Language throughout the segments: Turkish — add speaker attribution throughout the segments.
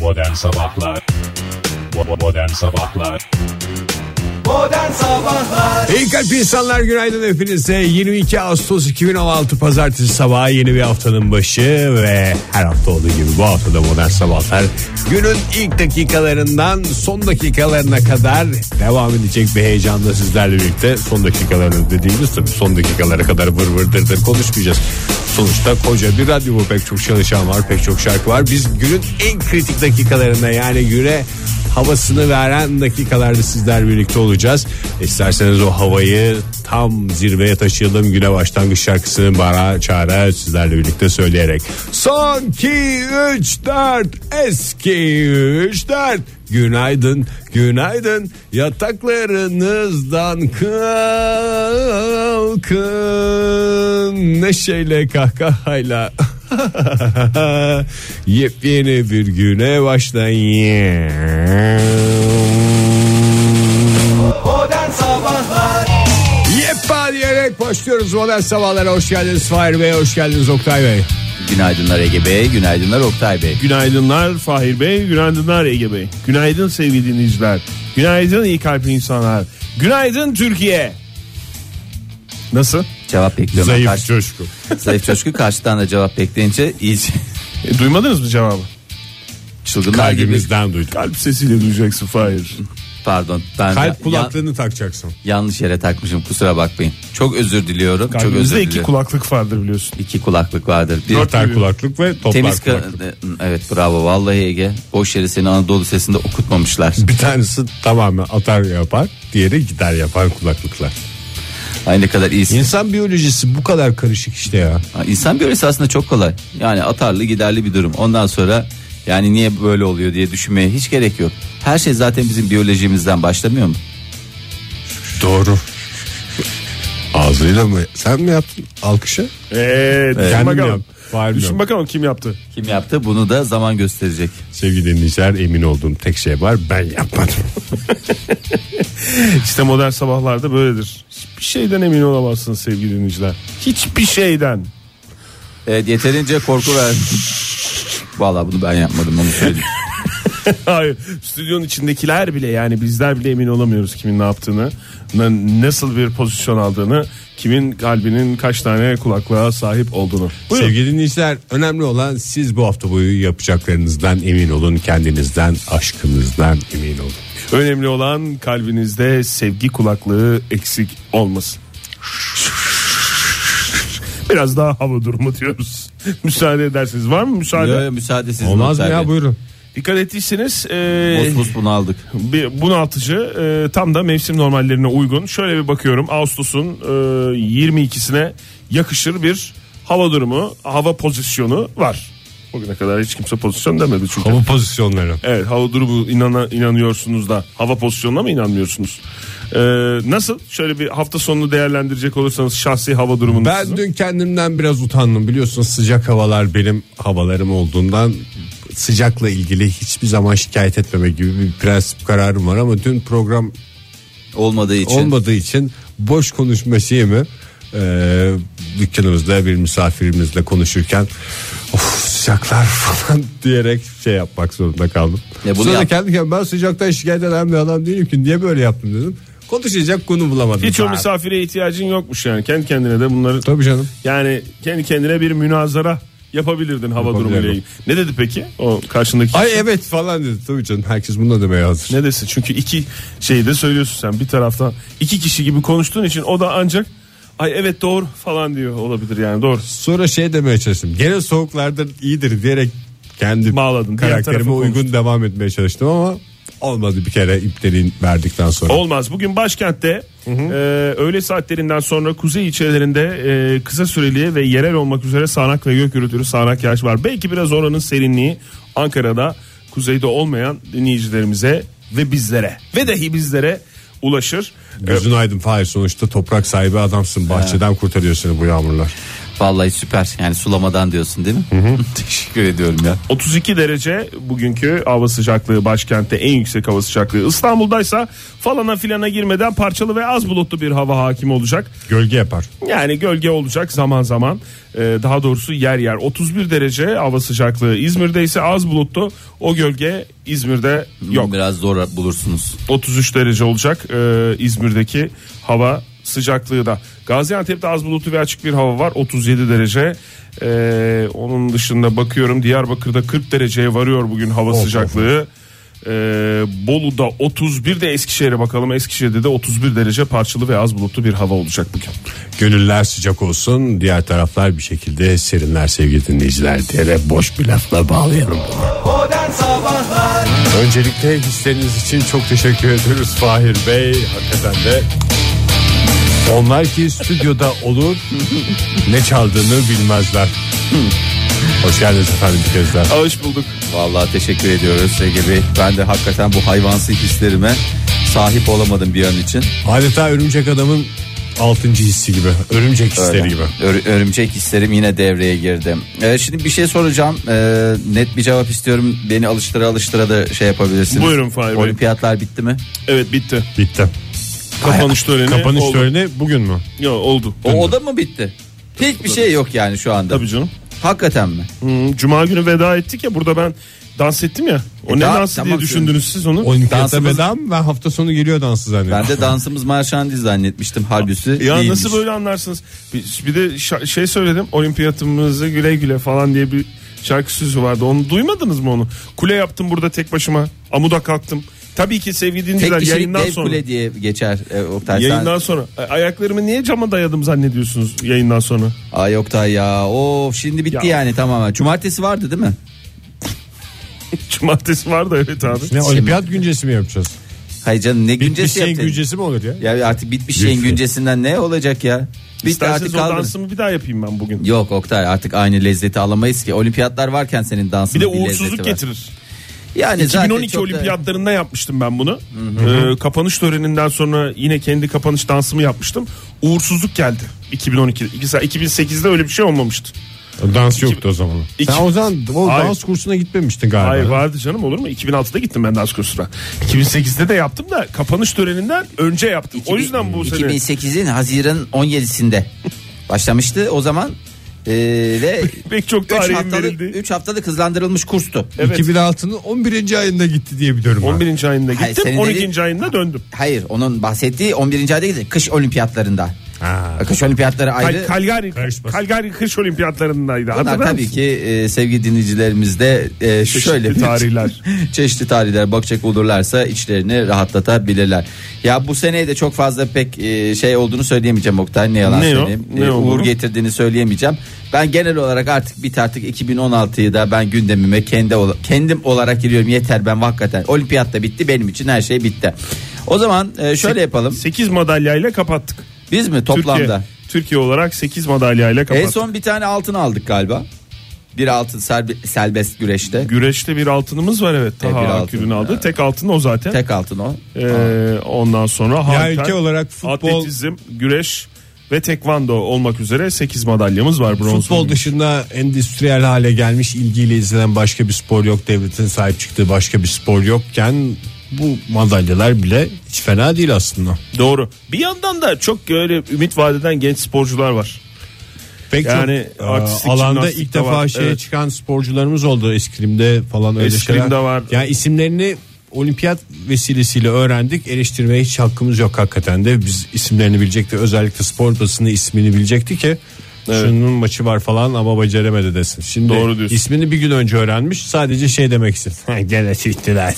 Speaker 1: Modern Sabahlar Bo- Modern Sabahlar
Speaker 2: İyi kalp insanlar günaydın hepinize 22 Ağustos 2016 Pazartesi sabahı yeni bir haftanın başı ve her hafta olduğu gibi bu haftada modern sabahlar günün ilk dakikalarından son dakikalarına kadar devam edecek bir heyecanla sizlerle birlikte son dakikalarını dediğimiz tabii son dakikalara kadar vır vır dır dır konuşmayacağız. Sonuçta koca bir radyo bu pek çok çalışan var pek çok şarkı var biz günün en kritik dakikalarında yani güne havasını veren dakikalarda sizler birlikte olacağız. İsterseniz o havayı tam zirveye taşıyalım güne başlangıç şarkısını bara çağıra sizlerle birlikte söyleyerek. Son 2 3 4 eski 3 4 Günaydın, günaydın yataklarınızdan kalkın neşeyle kahkahayla Yepyeni bir güne başlayın. Yeppa diyerek başlıyoruz modern sabahlara. Hoş geldiniz Fahir Bey, hoş geldiniz Oktay Bey.
Speaker 3: Günaydınlar Ege Bey, günaydınlar Oktay Bey.
Speaker 4: Günaydınlar Fahir Bey, günaydınlar Ege Bey. Günaydın sevgili dinleyiciler. Günaydın iyi kalpli insanlar. Günaydın Türkiye. Nasıl?
Speaker 3: Cevap bekliyorum. Karşı-
Speaker 2: coşku.
Speaker 3: zayıf coşku karşıdan da cevap bekleyince iyice
Speaker 4: E, duymadınız mı cevabı?
Speaker 3: çılgınlar gibi.
Speaker 2: Kalbimizden duyduk.
Speaker 4: Kalp sesiyle duyacaksın Fahir.
Speaker 3: Pardon ben
Speaker 2: Kalp
Speaker 3: ya-
Speaker 2: kulaklığını takacaksın.
Speaker 3: yanlış yere takmışım kusura bakmayın. Çok özür diliyorum. çok özür
Speaker 4: Kalbimizde iki
Speaker 3: diliyorum.
Speaker 4: kulaklık vardır biliyorsun.
Speaker 3: İki kulaklık vardır. Bir
Speaker 2: Dörter kulaklık ve toplar
Speaker 3: temiz ka-
Speaker 2: kulaklık.
Speaker 3: Evet bravo vallahi Ege. Boş yere seni Anadolu sesinde okutmamışlar.
Speaker 2: Bir tanesi tamamen atar yapar, diğeri gider yapar kulaklıklar.
Speaker 3: Ay ne kadar iyisin.
Speaker 2: İnsan biyolojisi bu kadar karışık işte ya.
Speaker 3: Ha, İnsan biyolojisi aslında çok kolay. Yani atarlı giderli bir durum. Ondan sonra yani niye böyle oluyor diye düşünmeye hiç gerek yok. Her şey zaten bizim biyolojimizden başlamıyor mu?
Speaker 2: Doğru. Ağzıyla mı? Sen mi yaptın alkışı?
Speaker 4: Eee düşün
Speaker 2: Kendim
Speaker 4: bakalım.
Speaker 2: yap- Fahir
Speaker 4: Düşün
Speaker 2: yap.
Speaker 4: bakalım kim yaptı.
Speaker 3: Kim yaptı bunu da zaman gösterecek.
Speaker 2: Sevgili dinleyiciler emin olduğum tek şey var ben yapmadım.
Speaker 4: İşte modern sabahlarda böyledir. Hiçbir şeyden emin olamazsınız sevgili dinleyiciler. Hiçbir şeyden.
Speaker 3: Evet yeterince korku ver. Vallahi bunu ben yapmadım onu söyleyeyim.
Speaker 4: Hayır. Stüdyonun içindekiler bile yani bizler bile emin olamıyoruz kimin ne yaptığını, na- nasıl bir pozisyon aldığını, kimin kalbinin kaç tane kulaklığa sahip olduğunu. Buyurun.
Speaker 2: Sevgili dinleyiciler önemli olan siz bu hafta boyu yapacaklarınızdan emin olun. Kendinizden aşkınızdan emin olun.
Speaker 4: Önemli olan kalbinizde sevgi kulaklığı eksik olmasın. Biraz daha hava durumu diyoruz. Müsaade edersiniz. Var mı müsaade?
Speaker 3: Yo, yo, müsaade sizin
Speaker 2: Olmaz mı
Speaker 3: Oktay
Speaker 2: ya
Speaker 3: Bey.
Speaker 2: buyurun.
Speaker 4: Dikkat ettiyseniz e,
Speaker 3: Bus bus bunu aldık.
Speaker 4: bir bunaltıcı e, tam da mevsim normallerine uygun. Şöyle bir bakıyorum Ağustos'un e, 22'sine yakışır bir hava durumu, hava pozisyonu var. Bugüne kadar hiç kimse pozisyon demedi çünkü.
Speaker 2: Hava pozisyonları.
Speaker 4: Evet hava durumu inana, inanıyorsunuz da hava pozisyonuna mı inanmıyorsunuz? E, nasıl? Şöyle bir hafta sonunu değerlendirecek olursanız şahsi hava durumunuz.
Speaker 2: Ben
Speaker 4: sizin.
Speaker 2: dün kendimden biraz utandım biliyorsunuz sıcak havalar benim havalarım olduğundan sıcakla ilgili hiçbir zaman şikayet etmeme gibi bir prensip kararım var ama dün program
Speaker 3: Olmadığı için.
Speaker 2: olmadığı için boş konuşma şeyimi e, dükkanımızda bir misafirimizle konuşurken of sıcaklar falan diyerek şey yapmak zorunda kaldım.
Speaker 3: Ya bunu
Speaker 2: Sonra
Speaker 3: yap-
Speaker 2: kendi kendime ben sıcaktan şikayet eden bir adam değilim ki niye böyle yaptım dedim. Konuşacak konu bulamadım.
Speaker 4: Hiç o misafire ihtiyacın yokmuş yani. Kendi kendine de bunları
Speaker 2: Tabii canım.
Speaker 4: yani kendi kendine bir münazara yapabilirdin hava
Speaker 2: Yapabilirdim.
Speaker 4: durumuyla ilgili. Ne dedi peki o karşındaki?
Speaker 2: Ay evet falan dedi. Tabii canım herkes bunu da demeye hazır.
Speaker 4: Ne desin? Çünkü iki şeyi de söylüyorsun sen bir taraftan. iki kişi gibi konuştuğun için o da ancak ay evet doğru falan diyor olabilir yani doğru.
Speaker 2: Sonra şey demeye çalıştım. Gene soğuklardan iyidir diyerek kendi
Speaker 4: Bağladın, diğer
Speaker 2: karakterime
Speaker 4: tarafı
Speaker 2: uygun
Speaker 4: konuştun.
Speaker 2: devam etmeye çalıştım ama olmadı bir kere iptalin verdikten sonra.
Speaker 4: Olmaz. Bugün başkentte e, öğle saatlerinden sonra kuzey ilçelerinde e, kısa süreli ve yerel olmak üzere sağanak ve gök gürültülü sağanak yağış var. Belki biraz oranın serinliği Ankara'da kuzeyde olmayan dinleyicilerimize ve bizlere ve dahi bizlere ulaşır. E,
Speaker 2: Gözün aydın Fahir sonuçta toprak sahibi adamsın. Bahçeden kurtarıyor seni bu yağmurlar.
Speaker 3: Vallahi süper. Yani sulamadan diyorsun değil mi? Teşekkür ediyorum ya.
Speaker 4: 32 derece bugünkü hava sıcaklığı başkentte en yüksek hava sıcaklığı. İstanbul'daysa falana filana girmeden parçalı ve az bulutlu bir hava hakim olacak.
Speaker 2: Gölge yapar.
Speaker 4: Yani gölge olacak zaman zaman Ee, daha doğrusu yer yer 31 derece hava sıcaklığı İzmir'de ise az bulutlu o gölge İzmir'de yok.
Speaker 3: Biraz zor bulursunuz.
Speaker 4: 33 derece olacak e, İzmir'deki hava sıcaklığı da. Gaziantep'te az bulutlu ve açık bir hava var 37 derece. E, onun dışında bakıyorum Diyarbakır'da 40 dereceye varıyor bugün hava sıcaklığı. E, Bolu'da 31 de Eskişehir'e bakalım. Eskişehir'de de 31 derece parçalı ve az bulutlu bir hava olacak bugün.
Speaker 2: Gönüller sıcak olsun diğer taraflar bir şekilde serinler sevgili dinleyiciler diyerek boş bir lafla bağlayalım. Öncelikle hisleriniz için çok teşekkür ediyoruz Fahir Bey. Hakikaten de onlar ki stüdyoda olur ne çaldığını bilmezler. Hoş geldiniz efendim bir kez daha.
Speaker 4: Ağış bulduk.
Speaker 3: Vallahi teşekkür ediyoruz Ege Bey. Ben de hakikaten bu hayvansı hislerime sahip olamadım bir an için.
Speaker 2: Adeta örümcek adamın altıncı hissi gibi. Örümcek hisleri
Speaker 3: Öyle.
Speaker 2: gibi.
Speaker 3: Ör- örümcek hislerim yine devreye girdi. Ee, şimdi bir şey soracağım. Ee, net bir cevap istiyorum. Beni alıştıra alıştıra da şey yapabilirsiniz.
Speaker 4: Buyurun Fahir Bey.
Speaker 3: Olimpiyatlar bitti mi?
Speaker 4: Evet bitti.
Speaker 2: Bitti.
Speaker 4: Kapanış töreni.
Speaker 2: Kapanış
Speaker 4: oldu.
Speaker 2: töreni bugün mü?
Speaker 4: Yo, oldu.
Speaker 3: O oda mı bitti? Hiçbir şey yok yani şu anda.
Speaker 4: Tabii canım.
Speaker 3: Hakikaten mi?
Speaker 4: Hmm, Cuma günü veda ettik ya burada ben dans ettim ya. O
Speaker 3: E,
Speaker 4: ne
Speaker 3: daha-
Speaker 4: dansı
Speaker 3: tamam
Speaker 4: diye
Speaker 3: canım.
Speaker 4: düşündünüz siz onu?
Speaker 2: Olimpiyata
Speaker 3: Dansımız-
Speaker 2: veda mı? Ben hafta sonu geliyor dansı zannediyorum.
Speaker 3: Ben de dansımız marşandiz zannetmiştim. Halbuki
Speaker 4: Ya
Speaker 3: değilmiş.
Speaker 4: nasıl böyle anlarsınız? Bir, bir de şa- şey söyledim olimpiyatımızı güle güle falan diye bir şarkı sözü vardı. Onu duymadınız mı onu? Kule yaptım burada tek başıma. Amuda kalktım. Tabii ki sevgili
Speaker 3: Tek
Speaker 4: dinleyiciler
Speaker 3: kişilik
Speaker 4: yayından
Speaker 3: dev
Speaker 4: sonra.
Speaker 3: kule diye geçer e, Oktay. sen-
Speaker 4: Yayından sonra. A- Ayaklarımı niye cama dayadım zannediyorsunuz yayından sonra?
Speaker 3: Ay Oktay ya. Of şimdi bitti
Speaker 4: Ya.
Speaker 3: yani tamamen. Cumartesi vardı değil mi?
Speaker 4: Cumartesi vardı evet abi.
Speaker 2: Ne olimpiyat güncesi mi yapacağız?
Speaker 3: Hayır canım ne
Speaker 2: Bir
Speaker 3: güncesi
Speaker 2: şeyin
Speaker 3: yaptın?
Speaker 2: güncesi mi olur ya?
Speaker 3: Ya artık bitmiş şeyin
Speaker 2: Lütfen.
Speaker 3: güncesinden ne olacak ya? Bitti artık
Speaker 4: İsterseniz o
Speaker 3: kaldı.
Speaker 4: dansımı bir daha yapayım ben bugün.
Speaker 3: Yok Oktay artık aynı lezzeti alamayız ki. Olimpiyatlar varken senin
Speaker 4: Bir
Speaker 3: dansının bir,
Speaker 4: de
Speaker 3: lezzeti
Speaker 4: uğursuzluk
Speaker 3: var.
Speaker 4: getirir.
Speaker 3: Yani zaten
Speaker 4: 2012
Speaker 3: çok da-
Speaker 4: olimpiyatlarında yapmıştım ben bunu. Ee, kapanış töreninden sonra yine kendi kapanış dansımı yapmıştım. Uğursuzluk geldi 2012. İkisi- 2008'de öyle bir şey olmamıştı.
Speaker 2: Dans yoktu o zaman.
Speaker 4: İki-
Speaker 2: Sen o zaman o
Speaker 4: Hayır.
Speaker 2: dans kursuna gitmemiştin galiba.
Speaker 4: Hayır vardı canım olur mu? 2006'da gittim ben dans kursuna. 2008'de de yaptım da kapanış töreninden önce yaptım. o yüzden bu sene
Speaker 3: 2008'in Haziran 17'sinde başlamıştı o zaman. Ee, ve
Speaker 4: pek çok
Speaker 3: 3
Speaker 4: tarihin
Speaker 3: haftalık,
Speaker 4: verildi.
Speaker 3: üç haftalık hızlandırılmış kurstu.
Speaker 4: Evet.
Speaker 2: 2006'nın 11. ayında gitti diye biliyorum. ben.
Speaker 4: 11. ayında
Speaker 3: Hayır,
Speaker 4: gittim.
Speaker 3: senin
Speaker 4: 12.
Speaker 3: dediğin-
Speaker 4: ayında döndüm.
Speaker 3: Hayır onun bahsettiği 11. ayda gitti. Kış olimpiyatlarında.
Speaker 2: Ha.
Speaker 3: Kış olimpiyatları
Speaker 4: Kal-
Speaker 3: ayrı.
Speaker 4: Calgary,
Speaker 2: Karışmasın.
Speaker 4: Calgary Kış Olimpiyatlarındaydı.
Speaker 3: Bunlar
Speaker 4: Hatırlar
Speaker 3: tabii
Speaker 4: mısın?
Speaker 3: ki e, sevgili dinleyicilerimiz de e, şöyle bir-
Speaker 4: tarihler.
Speaker 3: çeşitli tarihler bakacak olurlarsa içlerini rahatlatabilirler. Ya bu seneye de çok fazla pek e, şey olduğunu söyleyemeyeceğim Oktay ne yalan
Speaker 4: Ne o?
Speaker 3: söyleyeyim.
Speaker 4: Ne
Speaker 3: E,
Speaker 4: oldu?
Speaker 3: uğur getirdiğini söyleyemeyeceğim. Ben genel olarak artık bit artık 2016'yı da ben gündemime kendi ola- kendim olarak giriyorum yeter ben hakikaten. Olimpiyat da bitti benim için her şey bitti. O zaman e, şöyle yapalım.
Speaker 4: 8 madalyayla kapattık.
Speaker 3: Biz mi toplamda?
Speaker 4: Türkiye, Türkiye olarak 8 madalyayla kapattık.
Speaker 3: En son bir tane altın aldık galiba. Bir altın serbe- serbest güreşte.
Speaker 4: Güreşte bir altınımız var evet.
Speaker 3: E, bir
Speaker 4: Taha
Speaker 3: altın.
Speaker 4: Akgül'ün aldı. Tek altın o zaten.
Speaker 3: Tek altın o.
Speaker 4: Ee, ondan sonra
Speaker 2: Ya
Speaker 4: halter,
Speaker 2: ülke olarak futbol,
Speaker 4: atletizm, güreş ve tekvando olmak üzere 8 madalyamız var bronz.
Speaker 2: futbol dışında endüstriyel hale gelmiş ilgiyle izlenen başka bir spor yok. Devletin sahip çıktığı başka bir spor yokken bu madalyalar bile hiç fena değil aslında.
Speaker 4: Doğru. Bir yandan da çok öyle ümit vadeden genç sporcular var.
Speaker 2: Pek
Speaker 4: Yani
Speaker 2: yani
Speaker 4: artistik
Speaker 2: e, alanda
Speaker 4: jimnastik
Speaker 2: ilk
Speaker 4: de
Speaker 2: defa
Speaker 4: var,
Speaker 2: şeye
Speaker 4: evet.
Speaker 2: çıkan sporcularımız oldu eskrimde falan öyle
Speaker 4: Eskrimde
Speaker 2: şeyler.
Speaker 4: var.
Speaker 2: Yani isimlerini olimpiyat vesilesiyle öğrendik. Eleştirmeye hiç hakkımız yok hakikaten de. Biz isimlerini bilecekti. Özellikle spor basını ismini bilecekti ki şunun maçı var falan ama beceremedi desin. Şimdi
Speaker 4: Doğru diyorsun.
Speaker 2: ismini bir gün önce öğrenmiş. Sadece şey demek istedim. Ha, Gene siktiler.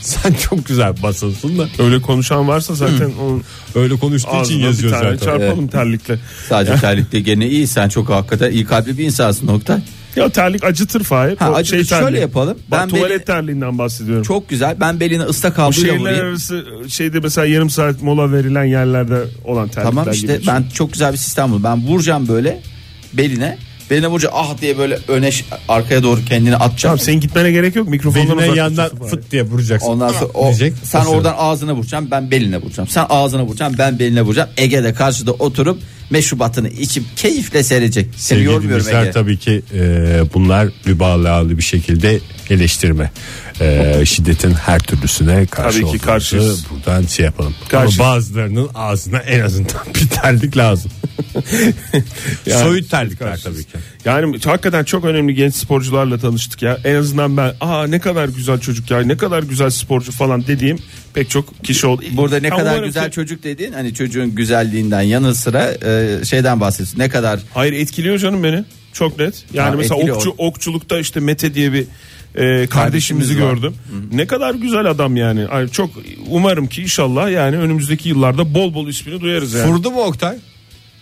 Speaker 2: Sen çok güzel basınsın da
Speaker 4: Öyle konuşan varsa zaten onun
Speaker 2: öyle konuştuğu için
Speaker 4: ağzına bir
Speaker 2: Hmm. yazıyor
Speaker 4: tane
Speaker 2: zaten.
Speaker 4: çarpalım terlikle.
Speaker 3: Sadece terlikte gene iyi. Sen çok hakikaten iyi kalpli bir insansın nokta.
Speaker 4: Ya terlik acıtır Fahir.
Speaker 3: Ha,
Speaker 4: O
Speaker 3: acı-
Speaker 4: şey
Speaker 3: şöyle
Speaker 4: terliği.
Speaker 3: yapalım.
Speaker 4: Bak,
Speaker 3: Ben
Speaker 4: tuvalet
Speaker 3: beni-
Speaker 4: terliğinden bahsediyorum.
Speaker 3: Çok güzel. Ben belini ıslak
Speaker 4: Bu
Speaker 3: havluyla
Speaker 4: şehirler
Speaker 3: vurayım.
Speaker 4: arası şeyde mesela yarım saat mola verilen yerlerde olan terlikler
Speaker 3: Tamam
Speaker 4: gibi
Speaker 3: işte
Speaker 4: düşün.
Speaker 3: ben çok güzel bir sistem buldum. Ben vuracağım böyle beline. Beline vuracağım ah diye böyle öne ş- arkaya doğru kendini atacağım.
Speaker 4: Tamam senin gitmene gerek yok. Mikrofondan
Speaker 2: Beline
Speaker 4: uzak
Speaker 2: yandan
Speaker 4: tutacaksın Fahir.
Speaker 2: fıt diye vuracaksın.
Speaker 3: Ondan sonra o,
Speaker 2: diyecek.
Speaker 3: sen oradan ağzına vuracaksın ben beline vuracağım. Sen ağzına vuracaksın ben beline vuracağım. Ege'de karşıda oturup meşrubatını içip keyifle seyredecek. Seni
Speaker 2: Sevgili
Speaker 3: yormuyorum
Speaker 2: dinleyiciler,
Speaker 3: Ege.
Speaker 2: tabii ki e, bunlar mübalağalı bir şekilde eleştirme. E, şiddetin her türlüsüne karşı
Speaker 4: Tabii ki
Speaker 2: olduğumuzu
Speaker 4: karşıyız.
Speaker 2: buradan şey yapalım.
Speaker 4: Karşıyız.
Speaker 2: Ama bazılarının ağzına en azından bir terlik lazım.
Speaker 4: Yani-
Speaker 2: Soyut terlikler tabii ki.
Speaker 4: Yani hakikaten çok önemli genç sporcularla tanıştık ya. En azından ben aa ne kadar güzel çocuk ya ne kadar güzel sporcu falan dediğim pek çok kişi oldu.
Speaker 3: Burada ne
Speaker 4: Ya
Speaker 3: kadar
Speaker 4: umarım
Speaker 3: güzel
Speaker 2: şey-
Speaker 4: ki-
Speaker 3: çocuk dediğin hani çocuğun güzelliğinden yanı sıra e, şeyden bahsediyorsun. Ne kadar
Speaker 4: Hayır etkiliyor canım beni. Çok net. Yani
Speaker 3: Ha,
Speaker 4: mesela
Speaker 3: etkiliyor.
Speaker 4: okçu, okçulukta işte Mete diye bir e, kardeşimizi
Speaker 3: var.
Speaker 4: gördüm. Ne kadar güzel adam yani. Ay, çok umarım ki inşallah yani önümüzdeki yıllarda bol bol ismini duyarız yani.
Speaker 2: Vurdu mu Oktay?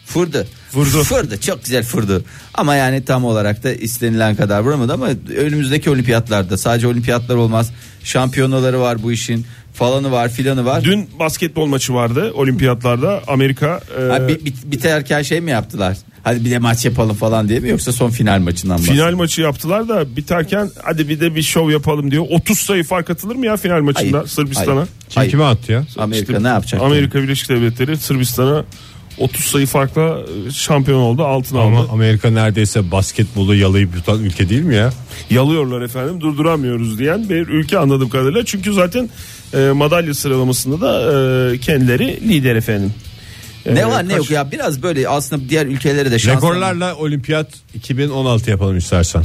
Speaker 3: fırdı.
Speaker 4: Vurdu.
Speaker 3: Fırdı çok güzel fırdı. Ama yani tam olarak da istenilen kadar vuramadı ama önümüzdeki olimpiyatlarda sadece olimpiyatlar olmaz. Şampiyonaları var bu işin falanı var filanı var.
Speaker 4: Dün basketbol maçı vardı olimpiyatlarda Amerika. e,
Speaker 3: Ha, bi- bi- biterken şey mi yaptılar? Hadi bir de maç yapalım falan diye mi yoksa son final maçından mı?
Speaker 4: Final maçı yaptılar da biterken hadi bir de bir şov yapalım diyor. 30 sayı fark atılır mı ya final maçında
Speaker 3: Hayır,
Speaker 4: Sırbistan'a?
Speaker 3: hayır.
Speaker 2: Kim
Speaker 3: Hayır.
Speaker 2: kime attı ya?
Speaker 3: Amerika
Speaker 4: İşte
Speaker 3: ne yapacak?
Speaker 4: Amerika Birleşik Devletleri Sırbistan'a 30 sayı farkla e, şampiyon oldu altın
Speaker 2: Ama
Speaker 4: aldı.
Speaker 2: Amerika neredeyse basketbolu yalayıp yutan ülke değil mi ya?
Speaker 4: Yalıyorlar efendim durduramıyoruz diyen bir ülke anladığım kadarıyla. Çünkü zaten e, madalya sıralamasında da e, kendileri lider efendim.
Speaker 3: Ne
Speaker 4: E,
Speaker 3: var ne
Speaker 4: kaç-
Speaker 3: yok ya biraz böyle aslında diğer ülkelere de şans.
Speaker 2: Rekorlarla olimpiyat 2016 yapalım istersen.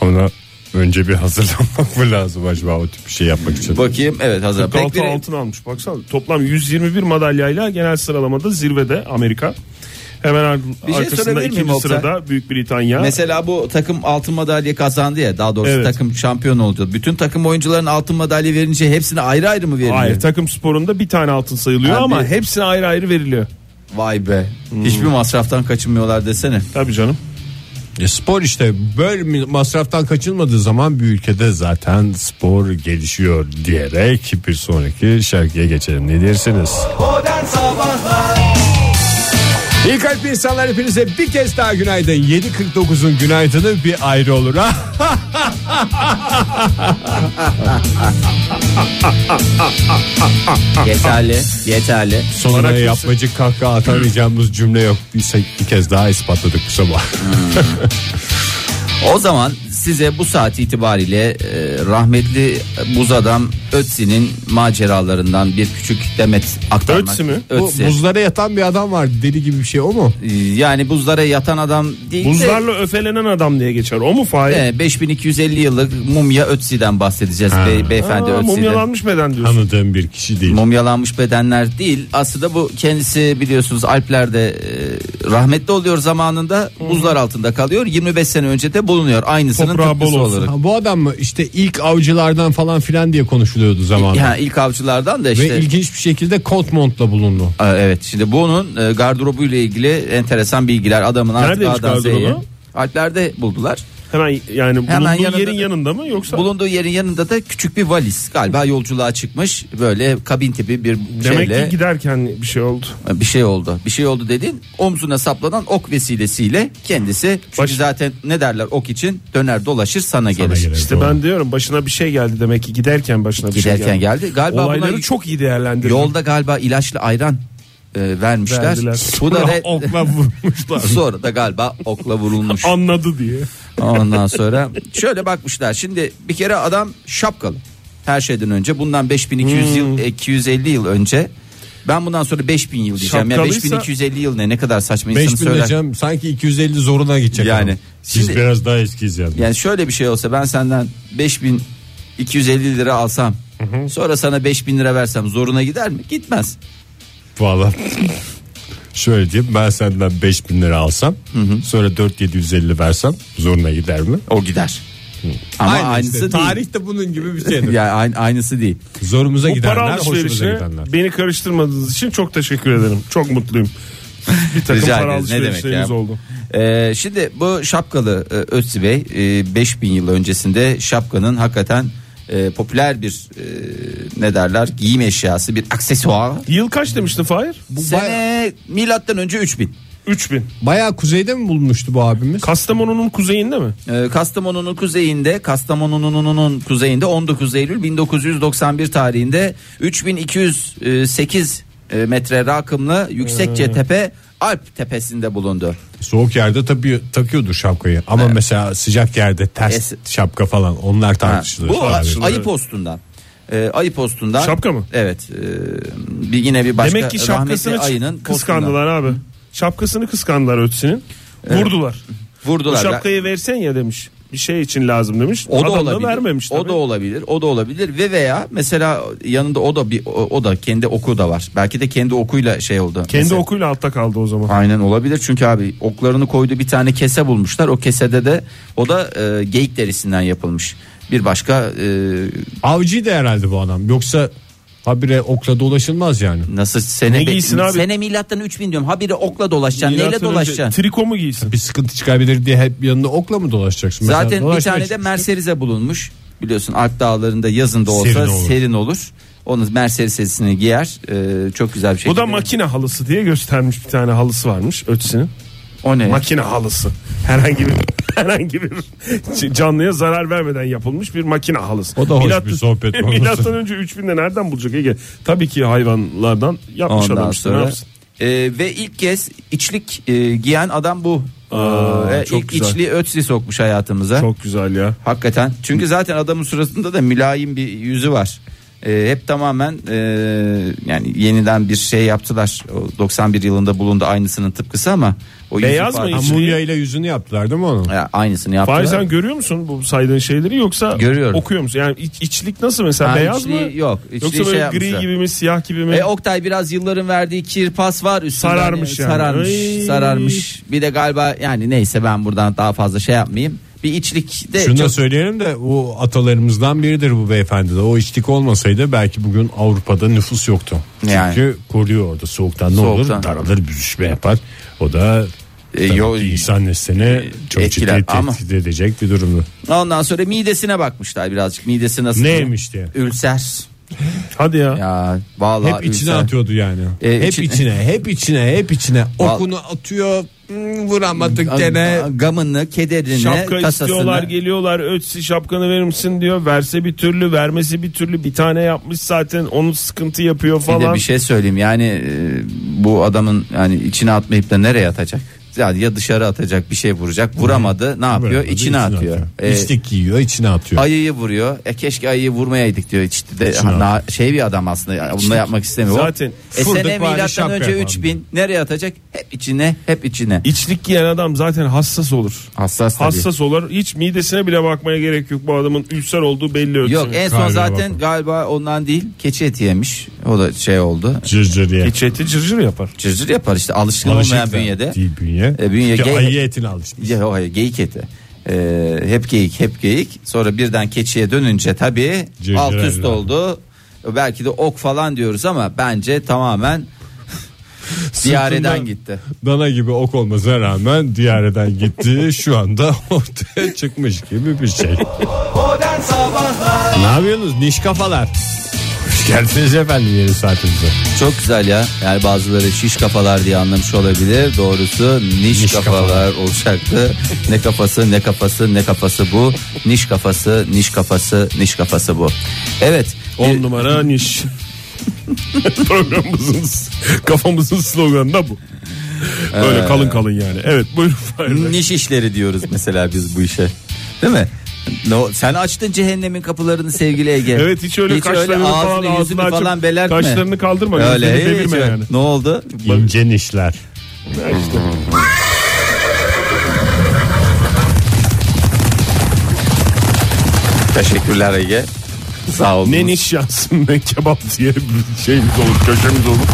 Speaker 2: Ona önce bir hazırlanmak mı lazım acaba o tip bir şey yapmak için?
Speaker 3: Bakayım evet hazır. Pek
Speaker 4: 46
Speaker 3: bir-
Speaker 4: altın almış baksana. Toplam 121 madalyayla genel sıralamada zirvede Amerika. Hemen ar-
Speaker 3: Bir şey sorabilir
Speaker 4: arkasında
Speaker 3: miyim
Speaker 4: ikinci
Speaker 3: Oktay?
Speaker 4: sırada Büyük Britanya.
Speaker 3: Mesela bu takım altın madalya kazandı ya daha doğrusu
Speaker 4: Evet.
Speaker 3: takım şampiyon oldu. Bütün takım oyuncuların altın madalya verince hepsine ayrı ayrı mı veriliyor?
Speaker 4: Hayır takım sporunda bir tane altın sayılıyor
Speaker 3: Abi-
Speaker 4: ama hepsine ayrı ayrı veriliyor.
Speaker 3: Vay be.
Speaker 4: Hmm.
Speaker 3: Hiçbir masraftan kaçınmıyorlar desene.
Speaker 4: Tabii canım.
Speaker 2: E, spor işte böyle mi- masraftan kaçınmadığı zaman bir ülkede zaten spor gelişiyor diyerek bir sonraki şarkıya geçelim. Ne dersiniz? İyi kalp insanlar hepinize bir kez daha günaydın. 7.49'un günaydını bir ayrı olur ha.
Speaker 3: Yeterli, yeterli.
Speaker 2: Sonuna yapmacık kahkaha atamayacağımız cümle yok. Bir, bir kez daha ispatladık bu sabah.
Speaker 3: O zaman size bu saat itibariyle e, rahmetli buz adam Ötzi'nin maceralarından bir küçük demet aktarmak.
Speaker 4: Ötzi mi?
Speaker 2: Bu
Speaker 3: Ötzi.
Speaker 2: buzlara yatan bir adam var deli gibi bir şey o mu?
Speaker 3: E, Yani buzlara yatan adam değil de
Speaker 4: Buzlarla öfelenen adam diye geçer. O mu Fahir?
Speaker 3: e, 5250 yıllık mumya Ötzi'den bahsedeceğiz Bey- beyefendi
Speaker 4: Aa,
Speaker 3: Ötzi'den.
Speaker 4: mumyalanmış beden diyorsun.
Speaker 2: Tanıdığım bir kişi değil.
Speaker 3: Mumyalanmış bedenler değil. Aslında bu kendisi biliyorsunuz Alplerde e, rahmetli oluyor zamanında. Buzlar altında kalıyor. 25 sene önce de bulunuyor. Aynısının
Speaker 4: Toprağı bol
Speaker 3: tıpkısı
Speaker 4: olsun.
Speaker 3: olarak.
Speaker 2: Ha, bu adam mı işte ilk avcılardan falan filan diye konuşuluyordu zamanında.
Speaker 3: Ya ilk avcılardan da işte.
Speaker 2: Ve ilginç bir şekilde kot montla bulundu.
Speaker 3: Aa, Evet şimdi bunun e, gardırobuyla ilgili enteresan bilgiler adamın artık
Speaker 4: Neredeymiş
Speaker 3: A'dan Z'ye.
Speaker 4: gardırobu?
Speaker 3: Alplerde buldular.
Speaker 4: Hemen yani bulunduğu
Speaker 3: Hemen yanında-
Speaker 4: yerin yanında mı yoksa?
Speaker 3: Bulunduğu yerin yanında da küçük bir valiz galiba yolculuğa çıkmış böyle kabin tipi bir
Speaker 4: Demek
Speaker 3: şeyle
Speaker 4: ki giderken bir şey oldu.
Speaker 3: bir şey oldu. Bir şey oldu dedin omzuna saplanan ok vesilesiyle kendisi çünkü
Speaker 4: Baş-
Speaker 3: zaten ne derler ok için döner dolaşır sana, gelir.
Speaker 2: gelir.
Speaker 4: İşte
Speaker 2: Doğru.
Speaker 4: ben diyorum başına bir şey geldi demek ki giderken başına bir şey
Speaker 3: Giderken
Speaker 4: geldi.
Speaker 3: geldi. Galiba
Speaker 4: Olayları
Speaker 3: buna-
Speaker 4: çok iyi değerlendirdi.
Speaker 3: Yolda galiba ilaçlı ayran e, vermişler.
Speaker 4: Verdiler.
Speaker 3: Bu da
Speaker 4: Sonra
Speaker 3: re-
Speaker 4: okla vurmuşlar.
Speaker 3: sonra da galiba okla vurulmuş.
Speaker 4: Anladı diye.
Speaker 3: Ondan sonra şöyle bakmışlar. Şimdi bir kere adam şapkalı. Her şeyden önce bundan 5200
Speaker 4: Hmm.
Speaker 3: yıl 250 yıl önce ben bundan sonra 5000 yıl diyeceğim. Ya
Speaker 4: Şapkalıysa-
Speaker 3: 5250 yıl ne ne kadar saçma insan
Speaker 2: 5000
Speaker 3: söyler.
Speaker 2: diyeceğim sanki 250 zoruna gidecek.
Speaker 3: Yani
Speaker 2: adam.
Speaker 3: şimdi-
Speaker 2: Biz biraz daha eskiyiz yani.
Speaker 3: Yani şöyle bir şey olsa ben senden 5250 lira alsam sonra sana 5000 lira versem zoruna gider mi? Gitmez.
Speaker 2: Valla. Şöyle diyeyim ben senden 5000 lira alsam sonra 4750 versem zoruna gider mi?
Speaker 3: O gider. Ama aynısı
Speaker 2: işte,
Speaker 3: değil.
Speaker 2: Tarih de bunun gibi bir şeydir.
Speaker 3: Yani aynı- aynısı değil.
Speaker 2: Zorumuza
Speaker 4: Bu para
Speaker 2: gidenler hoşumuza
Speaker 4: alışverişine
Speaker 2: gidenler.
Speaker 4: beni karıştırmadığınız için çok teşekkür ederim. Çok mutluyum. Bir takım
Speaker 3: Rica
Speaker 4: para
Speaker 3: ederiz. Ne demek
Speaker 4: alışverişlerimiz
Speaker 3: ya?
Speaker 4: oldu.
Speaker 3: Ee, şimdi bu şapkalı e, Ötzi Bey e, 5000 yıl öncesinde şapkanın hakikaten e, popüler bir e, ne derler giyim eşyası bir aksesuar.
Speaker 4: Yıl kaç demiştin Fahir?
Speaker 3: Sene milattan önce 3000.
Speaker 4: 3000.
Speaker 2: Bayağı kuzeyde mi bulmuştu bu abimiz?
Speaker 4: Kastamonu'nun kuzeyinde mi?
Speaker 3: Ee, Kastamonu'nun kuzeyinde Kastamonu'nun kuzeyinde 19 Eylül 1991 tarihinde 3208 e, metre rakımlı yüksekçe tepe Alp tepesinde bulundu.
Speaker 2: Soğuk yerde tabii takıyordur şapkayı. Ama mesela sıcak yerde ters
Speaker 3: Es-
Speaker 2: şapka falan onlar
Speaker 3: Ha,
Speaker 2: tartışılır.
Speaker 3: Bu
Speaker 2: Tabii.
Speaker 3: a- ayı postundan. E, ayı postundan.
Speaker 4: Şapka mı?
Speaker 3: Evet. e, bir yine bir başka
Speaker 4: Demek ki şapkasını
Speaker 3: rahmetli ayının
Speaker 4: ayının kıskandılar abi. Şapkasını kıskandılar ötesinin. Vurdular.
Speaker 3: postundan
Speaker 4: Bu
Speaker 3: Vurdular.
Speaker 4: şapkayı versen ya demiş. Bir şey için lazım demiş.
Speaker 3: O da
Speaker 4: Adam
Speaker 3: olabilir.
Speaker 4: da vermemiş
Speaker 3: o
Speaker 4: tabii.
Speaker 3: da olabilir. O da olabilir ve veya mesela yanında o da bir o, o da kendi oku da var. Belki de kendi okuyla şey oldu.
Speaker 4: Kendi
Speaker 3: Mesela-
Speaker 4: okuyla altta kaldı o zaman.
Speaker 3: Aynen olabilir çünkü abi oklarını koyduğu bir tane kese bulmuşlar. O kesede de o da e, geyik derisinden yapılmış. Bir başka e,
Speaker 2: Avcıydı herhalde bu adam. Yoksa habire okla dolaşılmaz yani.
Speaker 3: nasıl sene
Speaker 4: Ne giysin abi?
Speaker 3: sene milattan 3000 diyorum. Habire okla dolaşacaksın.
Speaker 4: Milattan
Speaker 3: Neyle
Speaker 4: önce
Speaker 3: dolaşacaksın?
Speaker 4: Triko mu giysin?
Speaker 2: Bir sıkıntı çıkabilir diye hep yanına okla mı dolaşacaksın? Mesela
Speaker 3: Zaten bir
Speaker 2: dolaşmak
Speaker 3: tane de
Speaker 2: için-
Speaker 3: Merserize bulunmuş. Biliyorsun Alp Dağları'nda yazın da olsa
Speaker 2: Serin
Speaker 3: serin
Speaker 2: olur.
Speaker 3: olur. Onun Mercerisesini giyer. e, çok güzel bir şey.
Speaker 4: Bu da makine halısı diye göstermiş bir tane halısı varmış ötesinin.
Speaker 3: O ne?
Speaker 4: Makine halısı. Herhangi bir herhangi bir canlıya zarar vermeden yapılmış bir makine halısı.
Speaker 2: O da hoş bir sohbet konusu.
Speaker 4: Milattan önce 3000'de nereden bulacak Ege? Tabii ki hayvanlardan yapmış
Speaker 3: Ondan
Speaker 4: adam işte ne
Speaker 3: sonra-
Speaker 4: yapsın?
Speaker 3: E, ve ilk kez içlik e, giyen adam bu. E,
Speaker 4: Aa,
Speaker 3: Ve
Speaker 4: çok
Speaker 3: ilk
Speaker 4: güzel.
Speaker 3: içli ötzi sokmuş hayatımıza.
Speaker 4: Çok güzel ya.
Speaker 3: Hakikaten. Çünkü zaten adamın suratında da mülayim bir yüzü var. Ee, hep tamamen e, yani yeniden bir şey yaptılar. O 91 yılında bulundu aynısının tıpkısı ama o yüzü
Speaker 4: Beyaz mı
Speaker 3: farklı.
Speaker 2: Ha,
Speaker 4: içli?
Speaker 2: mumya ile yüzünü yaptılar değil mi onu?
Speaker 3: Ya, aynısını
Speaker 4: Fahri
Speaker 3: yaptılar.
Speaker 4: sen görüyor musun bu saydığın şeyleri yoksa
Speaker 3: Görüyorum.
Speaker 4: okuyor musun? Yani iç- içlik nasıl mesela
Speaker 3: Ha,
Speaker 4: beyaz
Speaker 3: içliği
Speaker 4: mı?
Speaker 3: yok. İçliği
Speaker 4: Yoksa böyle
Speaker 3: şey
Speaker 4: gri
Speaker 3: yapmışlar.
Speaker 4: gibi mi siyah gibi mi?
Speaker 3: E, Oktay biraz yılların verdiği kirpas var üstünde.
Speaker 4: Sararmış yani.
Speaker 3: Sararmış.
Speaker 4: Ay.
Speaker 3: Sararmış. Bir de galiba yani neyse ben buradan daha fazla şey yapmayayım. Bir içlik de
Speaker 2: Şunu da
Speaker 3: çok-
Speaker 2: söyleyelim de o atalarımızdan biridir bu beyefendi de. O içlik olmasaydı belki bugün Avrupa'da nüfus yoktu. Çünkü
Speaker 3: Yani.
Speaker 2: koruyor orada soğuktan ne olur
Speaker 3: Soğuktan.
Speaker 2: daralır büzüşme yapar. O da
Speaker 3: E,
Speaker 2: tabii
Speaker 3: yo-
Speaker 2: ki insan neslini çok
Speaker 3: etkiler
Speaker 2: ciddi
Speaker 3: ama-
Speaker 2: tehdit edecek bir durumdu.
Speaker 3: Ondan sonra midesine bakmışlar birazcık. Midesi nasıl?
Speaker 2: Neymiş diye.
Speaker 3: Ülser.
Speaker 4: Hadi ya.
Speaker 3: Ya vallahi
Speaker 2: Hep içine
Speaker 3: ülser.
Speaker 2: atıyordu yani.
Speaker 3: E,
Speaker 2: hep
Speaker 3: içi-
Speaker 2: içine, hep içine, hep içine.
Speaker 3: Val-
Speaker 2: Okunu atıyor, hmm, vuramadık gene.
Speaker 3: Gene gamını, kederini,
Speaker 4: Şapka istiyorlar
Speaker 3: tasasını.
Speaker 4: geliyorlar ötsi şapkanı verir misin diyor. Verse bir türlü vermesi bir türlü bir tane yapmış zaten onu sıkıntı yapıyor
Speaker 3: Bir de
Speaker 4: falan.
Speaker 3: bir şey söyleyeyim yani e, bu adamın yani içine atmayıp da nereye atacak? Yani ya dışarı atacak bir şey vuracak vuramadı ne yapıyor
Speaker 2: Vuramadı,
Speaker 3: içine, atıyor. E,
Speaker 2: İçlik giyiyor, içine atıyor.
Speaker 3: ayıyı vuruyor e keşke ayıyı vurmayaydık diyor işte de,
Speaker 2: İçine
Speaker 3: ha, na- şey bir adam aslında yani bunu da yapmak istemiyor.
Speaker 4: Zaten
Speaker 3: e
Speaker 2: fırdık
Speaker 3: sene
Speaker 2: var,
Speaker 3: milattan
Speaker 2: şapka
Speaker 3: önce
Speaker 2: yapan
Speaker 3: 3000 nereye atacak? Hep içine hep içine.
Speaker 4: İçlik giyen adam zaten hassas olur.
Speaker 3: Hassas tabii.
Speaker 4: Hassas olur. Hiç midesine bile bakmaya gerek yok. Bu adamın ülser olduğu belli ötesi.
Speaker 3: Yok en son
Speaker 2: Kalbine
Speaker 3: zaten
Speaker 2: bakma.
Speaker 3: galiba ondan değil keçi eti yemiş. O da şey oldu.
Speaker 2: Cırcır diye.
Speaker 4: Keçi eti cırcır yapar.
Speaker 3: Cırcır yapar işte alışkın
Speaker 2: Alışık da
Speaker 3: olmayan bünyede.
Speaker 2: Değil bünye.
Speaker 3: E, bünye
Speaker 2: Çünkü
Speaker 3: gay-
Speaker 2: ayı etini alışmış.
Speaker 3: Ya, o hayır, geyik eti. Ee, hep geyik hep geyik sonra birden keçiye dönünce tabii
Speaker 2: Cırcır
Speaker 3: alt üst
Speaker 2: herhalde.
Speaker 3: oldu. Belki de ok falan diyoruz ama bence tamamen diyareden gitti.
Speaker 2: Dana gibi ok olmasına rağmen diyareden gitti. Şu anda ortaya çıkmış gibi bir şey. ne yapıyorsunuz niş kafalar? Hoş geldiniz efendim yeni saatimize.
Speaker 3: Çok güzel ya. Yani bazıları şiş kafalar diye anlamış olabilir. Doğrusu niş,
Speaker 2: Niş
Speaker 3: kafalar,
Speaker 2: kafalar.
Speaker 3: olacaktı. ne kafası ne kafası ne kafası bu. Niş kafası niş kafası niş kafası bu. Evet.
Speaker 4: 10 numara niş. Programımızın kafamızın sloganı da bu.
Speaker 3: Ee.
Speaker 4: Böyle kalın kalın yani. Evet buyurun Fahri Bey.
Speaker 3: Niş işleri diyoruz mesela biz bu işe. Değil mi? No, sen açtın cehennemin kapılarını sevgili Ege.
Speaker 4: Evet hiç öyle kaşlarını
Speaker 3: ağzını,
Speaker 4: falan
Speaker 3: yüzünü
Speaker 4: ağzını açıp
Speaker 3: falan belertme.
Speaker 4: kaşlarını kaldırma,
Speaker 3: Öyle,
Speaker 4: gözlerini
Speaker 3: hiç
Speaker 4: devirme
Speaker 3: öyle.
Speaker 4: yani.
Speaker 3: Ne oldu?
Speaker 2: İnce nişler.
Speaker 3: Teşekkürler Ege. Sağ olun.
Speaker 4: Ne niş yansın ne kebap diye bir şeyimiz olur köşemiz olur.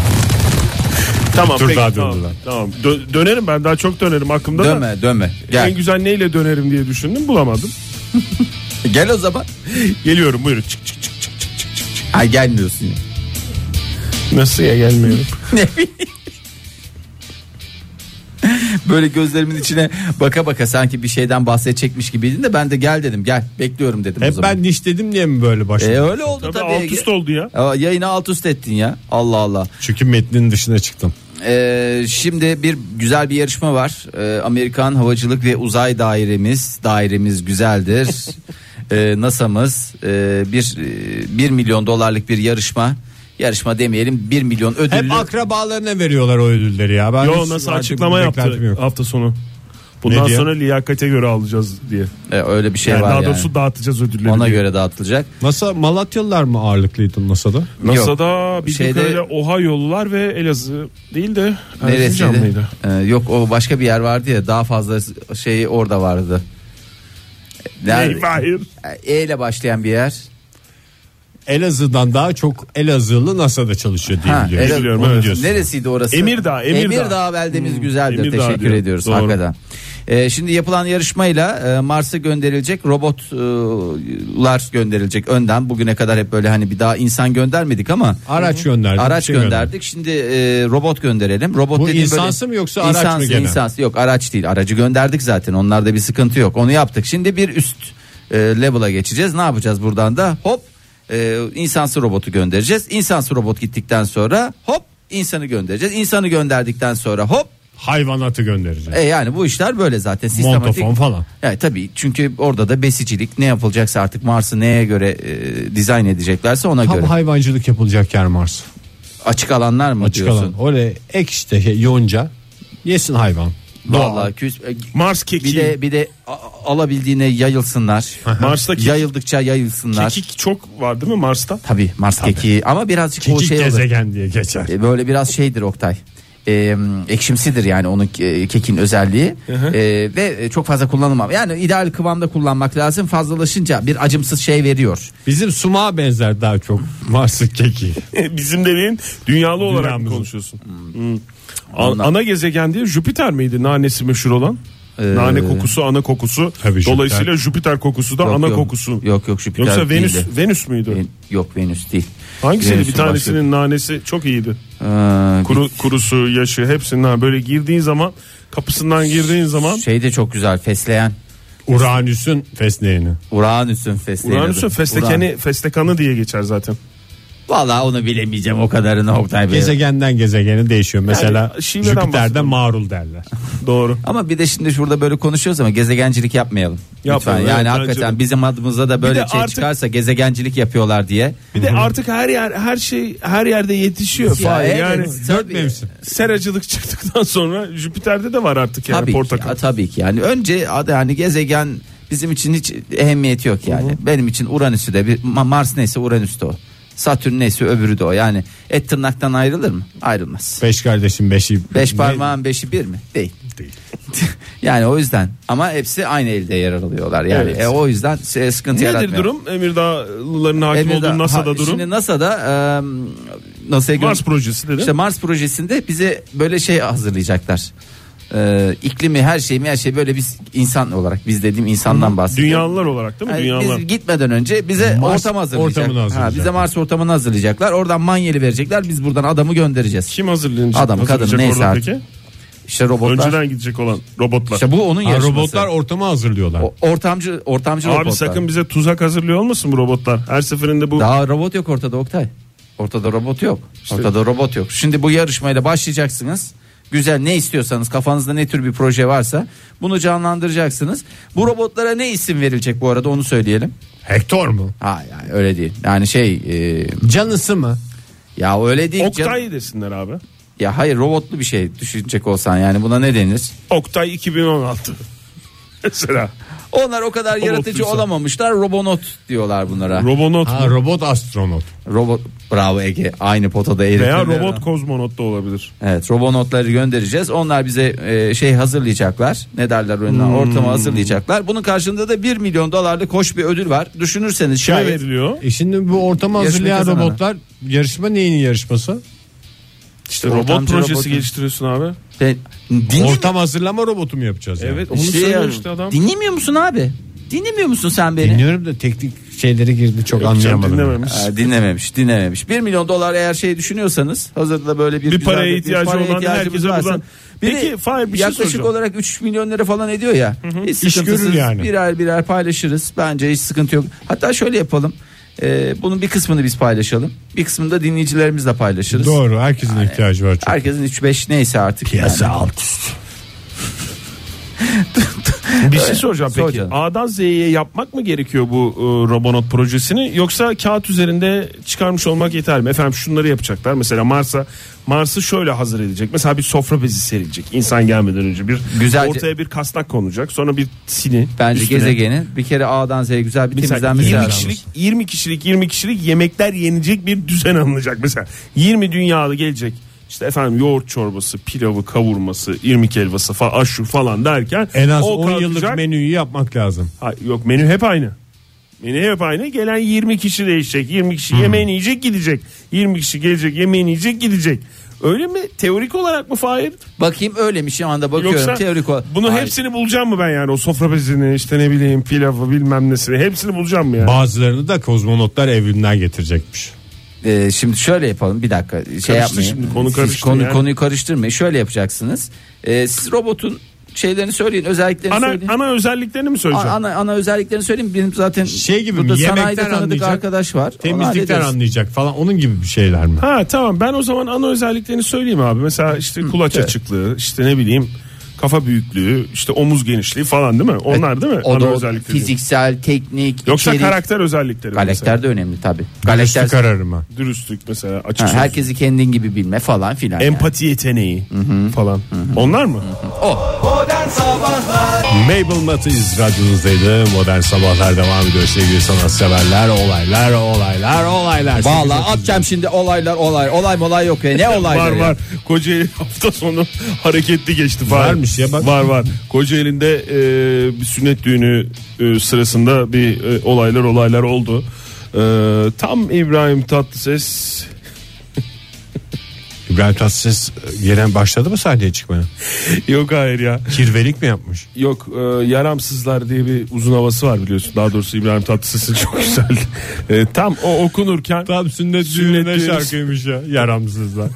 Speaker 4: Tamam
Speaker 2: Bir tur
Speaker 4: peki
Speaker 2: daha
Speaker 4: tamam,
Speaker 2: döndüler.
Speaker 4: tamam. Dö- dönerim ben daha çok dönerim aklımda da.
Speaker 3: Dönme dönme. Gel.
Speaker 4: En güzel neyle dönerim diye düşündüm bulamadım.
Speaker 3: Gel o zaman.
Speaker 4: Geliyorum buyurun çık çık çık çık çık çık. çık.
Speaker 3: Ha gelmiyorsun. ya.
Speaker 4: Nasıl ya gelmiyorum.
Speaker 3: Böyle gözlerimin içine baka baka sanki bir şeyden bahsedecekmiş gibiydin de ben de gel dedim gel bekliyorum dedim o
Speaker 2: Hep
Speaker 3: zaman.
Speaker 2: ben niş dedim diye mi böyle
Speaker 3: E,
Speaker 2: başladı?
Speaker 3: öyle oldu
Speaker 4: E, Tabii,
Speaker 3: tabii.
Speaker 4: alt üst oldu ya.
Speaker 3: Aa, Yayını alt üst ettin ya. Allah Allah.
Speaker 2: Çünkü metnin dışına çıktım.
Speaker 3: Ee, şimdi bir güzel bir yarışma var. Ee, Amerikan Havacılık ve Uzay Dairemiz, dairemiz güzeldir. e, Ee, NASA'mız ee, bir 1 milyon dolarlık bir yarışma. yarışma demeyelim 1 milyon ödüllü.
Speaker 2: Hep akrabalarına veriyorlar o ödülleri ya. Ben hiç-
Speaker 4: Yo nasıl
Speaker 2: artık
Speaker 4: açıklama
Speaker 2: bir
Speaker 4: yaptı
Speaker 2: beklentim yok.
Speaker 4: hafta sonu. Bundan
Speaker 2: diye?
Speaker 4: sonra liyakate göre alacağız diye.
Speaker 3: E, öyle bir şey
Speaker 4: Yani
Speaker 3: var
Speaker 4: daha
Speaker 3: yani.
Speaker 4: doğrusu dağıtacağız ödülleri.
Speaker 3: Ona
Speaker 4: diye.
Speaker 3: göre dağıtılacak.
Speaker 2: Masa Malatyalılar mı ağırlıklıydı masada?
Speaker 4: NASA'da bildiğim
Speaker 3: Şeyde-
Speaker 4: kadarıyla Ohio'lular ve Elazığ değil de Erzincan
Speaker 3: Neresiydi?
Speaker 4: mıydı?
Speaker 3: E, yok o başka bir yer vardı ya daha fazla şey orada vardı.
Speaker 4: Hayır, hayır.
Speaker 3: E ile başlayan bir yer.
Speaker 2: Elazığ'dan daha çok Elazığlı NASA'da çalışıyor diye
Speaker 3: Ha,
Speaker 2: biliyorum.
Speaker 3: Elazığ-
Speaker 4: Biliyorum,
Speaker 2: Onu
Speaker 4: evet.
Speaker 2: diyorsun.
Speaker 3: Neresiydi orası?
Speaker 4: Emirdağ, Emirdağ.
Speaker 3: beldemiz güzeldir.
Speaker 4: Emirdağ
Speaker 3: Teşekkür
Speaker 4: diyor.
Speaker 3: ediyoruz
Speaker 4: Doğru.
Speaker 3: hakikaten. Ee, şimdi yapılan yarışmayla e, Mars'a gönderilecek robotlar gönderilecek önden. Bugüne kadar hep böyle hani bir daha insan göndermedik ama
Speaker 2: Araç gönderdik.
Speaker 3: araç
Speaker 2: bir şey
Speaker 3: gönderdik. Şimdi e, robot gönderelim. Robot
Speaker 2: Bu
Speaker 3: dediğim
Speaker 2: insansı
Speaker 3: böyle-
Speaker 2: mı yoksa araç mı
Speaker 3: İnsansı,
Speaker 2: gene?
Speaker 3: insansı. yok araç değil. Aracı gönderdik zaten. Onlarda bir sıkıntı yok. Onu yaptık. Şimdi bir üst e, level'a geçeceğiz. Ne yapacağız buradan da? Hop e, insansı robotu göndereceğiz. İnsansı robot gittikten sonra hop insanı göndereceğiz. İnsanı gönderdikten sonra hop
Speaker 2: Hayvanatı göndereceğiz.
Speaker 3: e yani bu işler böyle zaten sistematik.
Speaker 2: Montofon falan.
Speaker 3: Yani tabii çünkü orada da besicilik ne yapılacaksa artık Mars'ı neye göre e, dizayn edeceklerse ona
Speaker 2: Tam
Speaker 3: göre.
Speaker 2: hayvancılık yapılacak yer Mars.
Speaker 3: Açık alanlar mı
Speaker 2: Açık
Speaker 3: diyorsun?
Speaker 2: alan. Oraya ek işte şey, yonca. Yesin hayvan.
Speaker 3: Vallahi küs e,
Speaker 4: Mars keki.
Speaker 3: bir de bir de a- alabildiğine yayılsınlar.
Speaker 4: Mars'ta kek-
Speaker 3: yayıldıkça yayılsınlar.
Speaker 4: Kekik çok var değil mi Mars'ta?
Speaker 3: Tabii Mars keki ama birazcık o
Speaker 2: Kekik
Speaker 3: şey olur.
Speaker 2: gezegen diye geçer.
Speaker 3: E, Böyle biraz şeydir Oktay. E, ekşimsidir yani onun e, kekin özelliği E, ve çok fazla kullanılmam. Yani ideal kıvamda kullanmak lazım. Fazlalaşınca bir acımsız şey veriyor.
Speaker 2: Bizim sumağa benzer daha çok Mars'ın keki.
Speaker 4: Bizim dediğin dünyalı olarak mı
Speaker 2: Dünyamızın.
Speaker 4: konuşuyorsun? Hmm. A-
Speaker 3: Ondan-
Speaker 4: ana gezegen diye Jüpiter miydi nanesi meşhur olan?
Speaker 3: Ee,
Speaker 4: Nane kokusu ana kokusu.
Speaker 2: Tabii Jüpiter.
Speaker 4: Dolayısıyla Jüpiter kokusu da
Speaker 3: Yok,
Speaker 4: ana
Speaker 3: yok.
Speaker 4: kokusu.
Speaker 3: Yok, yok, Jüpiter
Speaker 4: Yoksa Venüs
Speaker 3: değildi.
Speaker 4: Venüs müydü?
Speaker 3: Ven- Yok Venüs değil.
Speaker 4: Hangisiydi bir
Speaker 3: Venüs'ün
Speaker 4: tanesinin nanesi çok iyiydi.
Speaker 3: başka- Ee,
Speaker 4: Kuru, kurusu, yaşı hepsinden böyle girdiğin zaman kapısından girdiğin zaman
Speaker 3: Şey de çok güzel fesleğen.
Speaker 2: Uranüs'ün fesleğini.
Speaker 3: Uranüs'ün fesleğeni.
Speaker 4: Uranüs'ün festekeni, festekanı diye geçer zaten.
Speaker 3: Vallahi onu bilemeyeceğim o kadarını Oktay Bey.
Speaker 2: Gezegenden gezegene değişiyor. Mesela
Speaker 4: şiveden
Speaker 2: Jüpiter'de
Speaker 4: bahsediyorum.
Speaker 2: marul derler.
Speaker 4: Doğru.
Speaker 3: Ama bir de şimdi şurada böyle konuşuyoruz ama gezegencilik yapmayalım.
Speaker 4: Yapmayalım,
Speaker 3: Lütfen. Yani
Speaker 4: evet, bence
Speaker 3: hakikaten
Speaker 4: de.
Speaker 3: bizim adımıza da böyle
Speaker 4: Bir de
Speaker 3: şey
Speaker 4: artık-
Speaker 3: çıkarsa gezegencilik yapıyorlar diye.
Speaker 4: Bir de artık her yer her şey her yerde yetişiyor.
Speaker 3: Ya
Speaker 4: Fahir.
Speaker 3: evet,
Speaker 4: yani
Speaker 2: Dört
Speaker 3: tabii.
Speaker 2: mevsim.
Speaker 4: seracılık çıktıktan sonra Jüpiter'de de var artık yani
Speaker 3: Tabii ki,
Speaker 4: portakal.
Speaker 3: ya, tabii ki. Yani önce adı yani gezegen bizim için hiç ehemmiyeti yok yani. Benim için Uranüs'ü de bir Ma- Mars neyse Uranüs de o. Satürn neyse öbürü de o. Yani et tırnaktan ayrılır mı? Ayrılmaz.
Speaker 2: Beş kardeşim beşi.
Speaker 3: Beş
Speaker 2: Ne-
Speaker 3: parmağın beşi bir mi? Değil.
Speaker 2: Değil.
Speaker 3: yani o yüzden ama hepsi aynı elde yer alıyorlar yani.
Speaker 4: Evet.
Speaker 3: E, o yüzden se- sıkıntı
Speaker 4: Nedir
Speaker 3: yaratmıyor.
Speaker 4: durum? Emirdağlıların hakim
Speaker 3: Emirda-
Speaker 4: olduğu NASA'da
Speaker 3: ha,
Speaker 4: durum.
Speaker 3: Şimdi NASA'da e, NASA'ya
Speaker 4: Mars
Speaker 3: gö-
Speaker 4: projesi dedi.
Speaker 3: İşte Mars projesinde bize böyle şey hazırlayacaklar. E, iklimi her şeyi her şey böyle biz insan olarak biz dediğim insandan bahsediyorum.
Speaker 4: Dünyalılar olarak değil mi?
Speaker 3: Yani
Speaker 4: Dünyalılar.
Speaker 3: biz gitmeden önce bize
Speaker 2: Mars
Speaker 3: ortam hazırlayacak.
Speaker 2: ortamını hazırlayacak.
Speaker 3: Ha, bize Mars ortamını hazırlayacaklar. Oradan manyeli verecekler. Biz buradan adamı göndereceğiz.
Speaker 4: Kim hazırlanacak?
Speaker 3: Adam, kadın,
Speaker 4: Hazırlayacak
Speaker 3: neyse
Speaker 4: orada
Speaker 3: artık.
Speaker 4: peki?
Speaker 3: İşte robotlar.
Speaker 4: Önceden gidecek olan robotlar.
Speaker 3: İşte bu onun
Speaker 2: Ha,
Speaker 3: yarışması.
Speaker 2: robotlar ortamı hazırlıyorlar.
Speaker 3: O- ortamcı ortamcı
Speaker 4: Abi
Speaker 3: robotlar.
Speaker 4: sakın bize tuzak hazırlıyor olmasın bu robotlar? Her seferinde bu
Speaker 3: Daha robot yok ortada Oktay. Ortada robot yok. Ortada robot yok. Şimdi bu yarışmayla başlayacaksınız. Güzel ne istiyorsanız kafanızda ne tür bir proje varsa bunu canlandıracaksınız. Bu robotlara ne isim verilecek bu arada onu söyleyelim.
Speaker 2: Hector mu?
Speaker 3: Ha yani öyle değil. Yani şey e,
Speaker 2: Canısı mı?
Speaker 3: ya öyle değil.
Speaker 4: Oktay
Speaker 3: canım.
Speaker 4: desinler abi.
Speaker 3: Ya hayır robotlu bir şey düşünecek olsan yani buna ne denir?
Speaker 4: Oktay 2016. Mesela
Speaker 3: Onlar o kadar yaratıcı
Speaker 4: Robotluysa.
Speaker 3: olamamışlar. Robonot diyorlar bunlara.
Speaker 4: robonot
Speaker 2: Ha,
Speaker 4: mu?
Speaker 2: robot astronot.
Speaker 3: robot bravo Ege aynı potada
Speaker 4: veya
Speaker 3: eritirler
Speaker 4: robot
Speaker 3: ama.
Speaker 4: kozmonot da olabilir.
Speaker 3: Evet robonotları göndereceğiz. Onlar bize e, şey hazırlayacaklar. Ne derler önüne ortamı hazırlayacaklar. Bunun karşılığında da 1 milyon dolarlık hoş bir ödül var. Düşünürseniz
Speaker 4: Kime
Speaker 3: şayet
Speaker 4: veriliyor?
Speaker 2: E şimdi bu ortamı
Speaker 3: Yarışma
Speaker 2: hazırlayan
Speaker 3: kazananı.
Speaker 2: robotlar yarışma neyin yarışması?
Speaker 4: İşte
Speaker 3: Ortamcı
Speaker 4: robot projesi
Speaker 3: robotu.
Speaker 4: geliştiriyorsun abi.
Speaker 3: Ben- Şey, dinlemiyor-
Speaker 2: Ortam hazırlama robotu mu yapacağız? yani?
Speaker 4: Evet onu
Speaker 3: İşte
Speaker 4: söylüyor
Speaker 3: yani.
Speaker 4: işte adam.
Speaker 3: Dinlemiyor musun abi? Dinlemiyor musun sen beni?
Speaker 2: Dinliyorum da teknik şeylere girdi çok
Speaker 4: Yok canım,
Speaker 2: anlayamadım.
Speaker 4: dinlememiş.
Speaker 3: Aa, Ee, dinlememiş dinlememiş 1 milyon dolar eğer şey düşünüyorsanız hazırda da böyle bir,
Speaker 4: Bir
Speaker 3: güzel
Speaker 4: paraya ihtiyacı
Speaker 3: paraya
Speaker 4: olan
Speaker 3: ihtiyacımız
Speaker 4: herkese
Speaker 3: varsa-
Speaker 4: bulan-
Speaker 3: Bir
Speaker 4: Peki,
Speaker 3: de
Speaker 4: Fahir, bir şey
Speaker 3: yaklaşık
Speaker 4: soracağım.
Speaker 3: olarak 3 milyon lira falan ediyor ya hiç sıkıntısız
Speaker 2: görür yani.
Speaker 3: birer birer paylaşırız bence hiç sıkıntı yok hatta şöyle yapalım Ee, bunun bir kısmını biz paylaşalım bir kısmını da dinleyicilerimizle paylaşırız
Speaker 2: Doğru herkesin ihtiyacı var çok.
Speaker 3: herkesin 3-5 neyse artık yani.
Speaker 2: alt üst.
Speaker 4: Bir şey soracağım
Speaker 3: Sor
Speaker 4: peki.
Speaker 3: canım.
Speaker 4: A'dan Z'ye yapmak mı gerekiyor bu e, Robonaut projesini yoksa kağıt üzerinde çıkarmış olmak yeter mi? Efendim şunları yapacaklar. Mesela Mars'a Mars'ı şöyle hazır edecek. Mesela bir sofra bezi serilecek. İnsan gelmeden önce bir
Speaker 3: Güzelce-
Speaker 4: ortaya bir kasnak konulacak. Sonra bir sini
Speaker 3: Bence
Speaker 4: üstüne.
Speaker 3: gezegenin bir kere A'dan Z'ye güzel bir
Speaker 4: Mesela
Speaker 3: temizlenmesi
Speaker 4: 20
Speaker 3: lazım.
Speaker 4: kişilik 20 kişilik 20 kişilik yemekler yenecek bir düzen alınacak mesela. 20 dünyalı gelecek. İşte efendim yoğurt çorbası, pilavı, kavurması, irmik helvası falan, aşu falan derken
Speaker 2: En az
Speaker 4: o
Speaker 2: 10 yıllık
Speaker 4: kalkacak.
Speaker 2: menüyü yapmak lazım.
Speaker 4: Ha, yok menü hep aynı. Menü hep aynı. Gelen 20 kişi değişecek. 20 kişi
Speaker 2: Hmm.
Speaker 4: yemeğini yiyecek gidecek. 20 kişi gelecek yemeğini yiyecek gidecek. Öyle mi? Teorik olarak mı Fahir?
Speaker 3: Bakayım öyle mi şu anda bakıyorum
Speaker 4: Yoksa
Speaker 3: teorik olarak.
Speaker 4: bunu
Speaker 3: Hayır.
Speaker 4: hepsini bulacağım mı ben yani? O sofra bezini işte ne bileyim pilavı bilmem nesini hepsini bulacağım mı yani?
Speaker 2: Bazılarını da kozmonotlar evrimden getirecekmiş.
Speaker 3: Ee, şimdi şöyle yapalım bir dakika şey yapmayın.
Speaker 4: şimdi, konu
Speaker 3: Siz
Speaker 4: karıştı
Speaker 3: konu-
Speaker 4: yani.
Speaker 3: Konuyu karıştırmayın şöyle yapacaksınız. Ee, siz robotun şeylerini söyleyin özelliklerini
Speaker 4: ana,
Speaker 3: söyleyin.
Speaker 4: ana özelliklerini mi
Speaker 3: A-
Speaker 4: söyleyeceğim?
Speaker 3: ana, ana özelliklerini söyleyeyim benim zaten
Speaker 2: Şey gibi mi?
Speaker 3: burada
Speaker 2: Yemekten
Speaker 3: sanayide tanıdık
Speaker 2: anlayacak,
Speaker 3: arkadaş var. Onu
Speaker 2: Temizlikten
Speaker 3: hallederiz.
Speaker 2: anlayacak falan onun gibi bir şeyler mi?
Speaker 4: Ha tamam ben o zaman ana özelliklerini söyleyeyim abi. Mesela işte kulaç
Speaker 3: evet.
Speaker 4: açıklığı, işte ne bileyim kafa büyüklüğü, işte omuz genişliği falan değil mi? Onlar değil mi?
Speaker 3: O
Speaker 4: ana
Speaker 3: da o
Speaker 4: özellikleri.
Speaker 3: fiziksel, teknik,
Speaker 4: Yoksa
Speaker 3: içerik.
Speaker 4: karakter özellikleri. mesela.
Speaker 3: Karakter de önemli tabi.
Speaker 2: Galaktik
Speaker 3: Karakter
Speaker 2: kararı mı?
Speaker 4: Dürüstlük mesela açık
Speaker 3: Ha,
Speaker 4: sözlülük.
Speaker 3: herkesi kendin gibi bilme falan filan. yani.
Speaker 4: Empati yeteneği falan. Onlar mı?
Speaker 2: Mabel Matiz radyonuzdaydı. Modern Sabahlar devam ediyor sevgili sanatseverler. Olaylar, olaylar, olaylar.
Speaker 3: Vallahi
Speaker 2: 8.30.
Speaker 3: atacağım şimdi olaylar olay. Olay molay yok ya. Ne olay
Speaker 4: var var. Kocaeli hafta sonu hareketli geçti. Fahir.
Speaker 2: Varmış ya bak.
Speaker 4: Var var. Kocaeli'nde e, bir sünnet düğünü e, sırasında bir e, olaylar olaylar oldu. E, tam İbrahim Tatlıses
Speaker 2: İbrahim Tatlıses e, gelen başladı mı sahneye çıkmaya?
Speaker 4: yok hayır ya.
Speaker 2: Kirvelik mi yapmış?
Speaker 4: Yok e, yaramsızlar diye bir uzun havası var biliyorsun. Daha doğrusu İbrahim Tatlıses'in çok güzel. E, tam o okunurken
Speaker 2: Tam sünnet,
Speaker 4: Sünnet
Speaker 2: düğününe
Speaker 4: düğünü-
Speaker 2: şarkıymış ya. Yaramsızlar.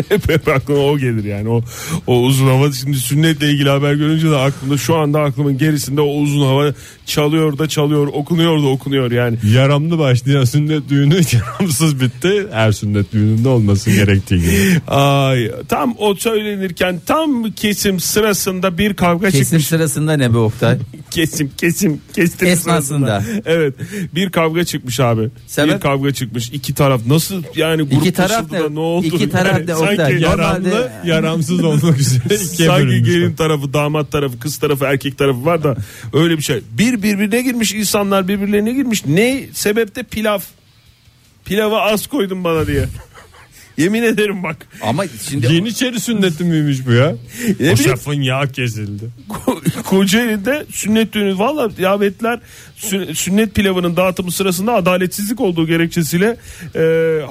Speaker 4: hep, hep aklıma o gelir yani. O, o uzun hava şimdi sünnetle ilgili haber görünce de aklımda şu anda aklımın gerisinde o uzun hava çalıyor da çalıyor okunuyor da okunuyor yani.
Speaker 2: Yaramlı başlayan sünnet düğünü yaramsız bitti. Her sünnet düğününde olması gerektiği gibi.
Speaker 4: Ay, tam o söylenirken tam kesim sırasında bir kavga
Speaker 3: Kesim
Speaker 4: çıkmış.
Speaker 3: sırasında ne be Oktay?
Speaker 4: kesim kesim kestim
Speaker 3: Esnasında.
Speaker 4: sırasında. Evet. Bir kavga çıkmış abi.
Speaker 3: Sebep?
Speaker 4: Bir kavga çıkmış. İki taraf nasıl yani grup
Speaker 3: İki taraf
Speaker 4: taşıdı da
Speaker 3: ne?
Speaker 4: ne oldu?
Speaker 3: İki taraf
Speaker 4: Yani
Speaker 3: ne
Speaker 4: sanki
Speaker 3: Oktay?
Speaker 4: yaram-
Speaker 3: Normalde-
Speaker 2: Yaramlı, yaramsız olmak üzere ikiye
Speaker 4: Sanki
Speaker 2: bölünmüş.
Speaker 4: gelin tarafı, damat tarafı, kız tarafı, erkek tarafı var da öyle bir şey. Bir birbirine girmiş insanlar birbirlerine girmiş. Ne sebepte pilav? Pilava az koydun bana diye. Yemin ederim bak.
Speaker 3: Ama şimdi
Speaker 2: Yeniçeri sünneti miymiş bu ya?
Speaker 4: bileyim.
Speaker 2: O şafın yağı kesildi.
Speaker 4: Ko- Kocaeli'de sünnet düğünü valla davetler sü- sünnet pilavının dağıtımı sırasında adaletsizlik olduğu gerekçesiyle e,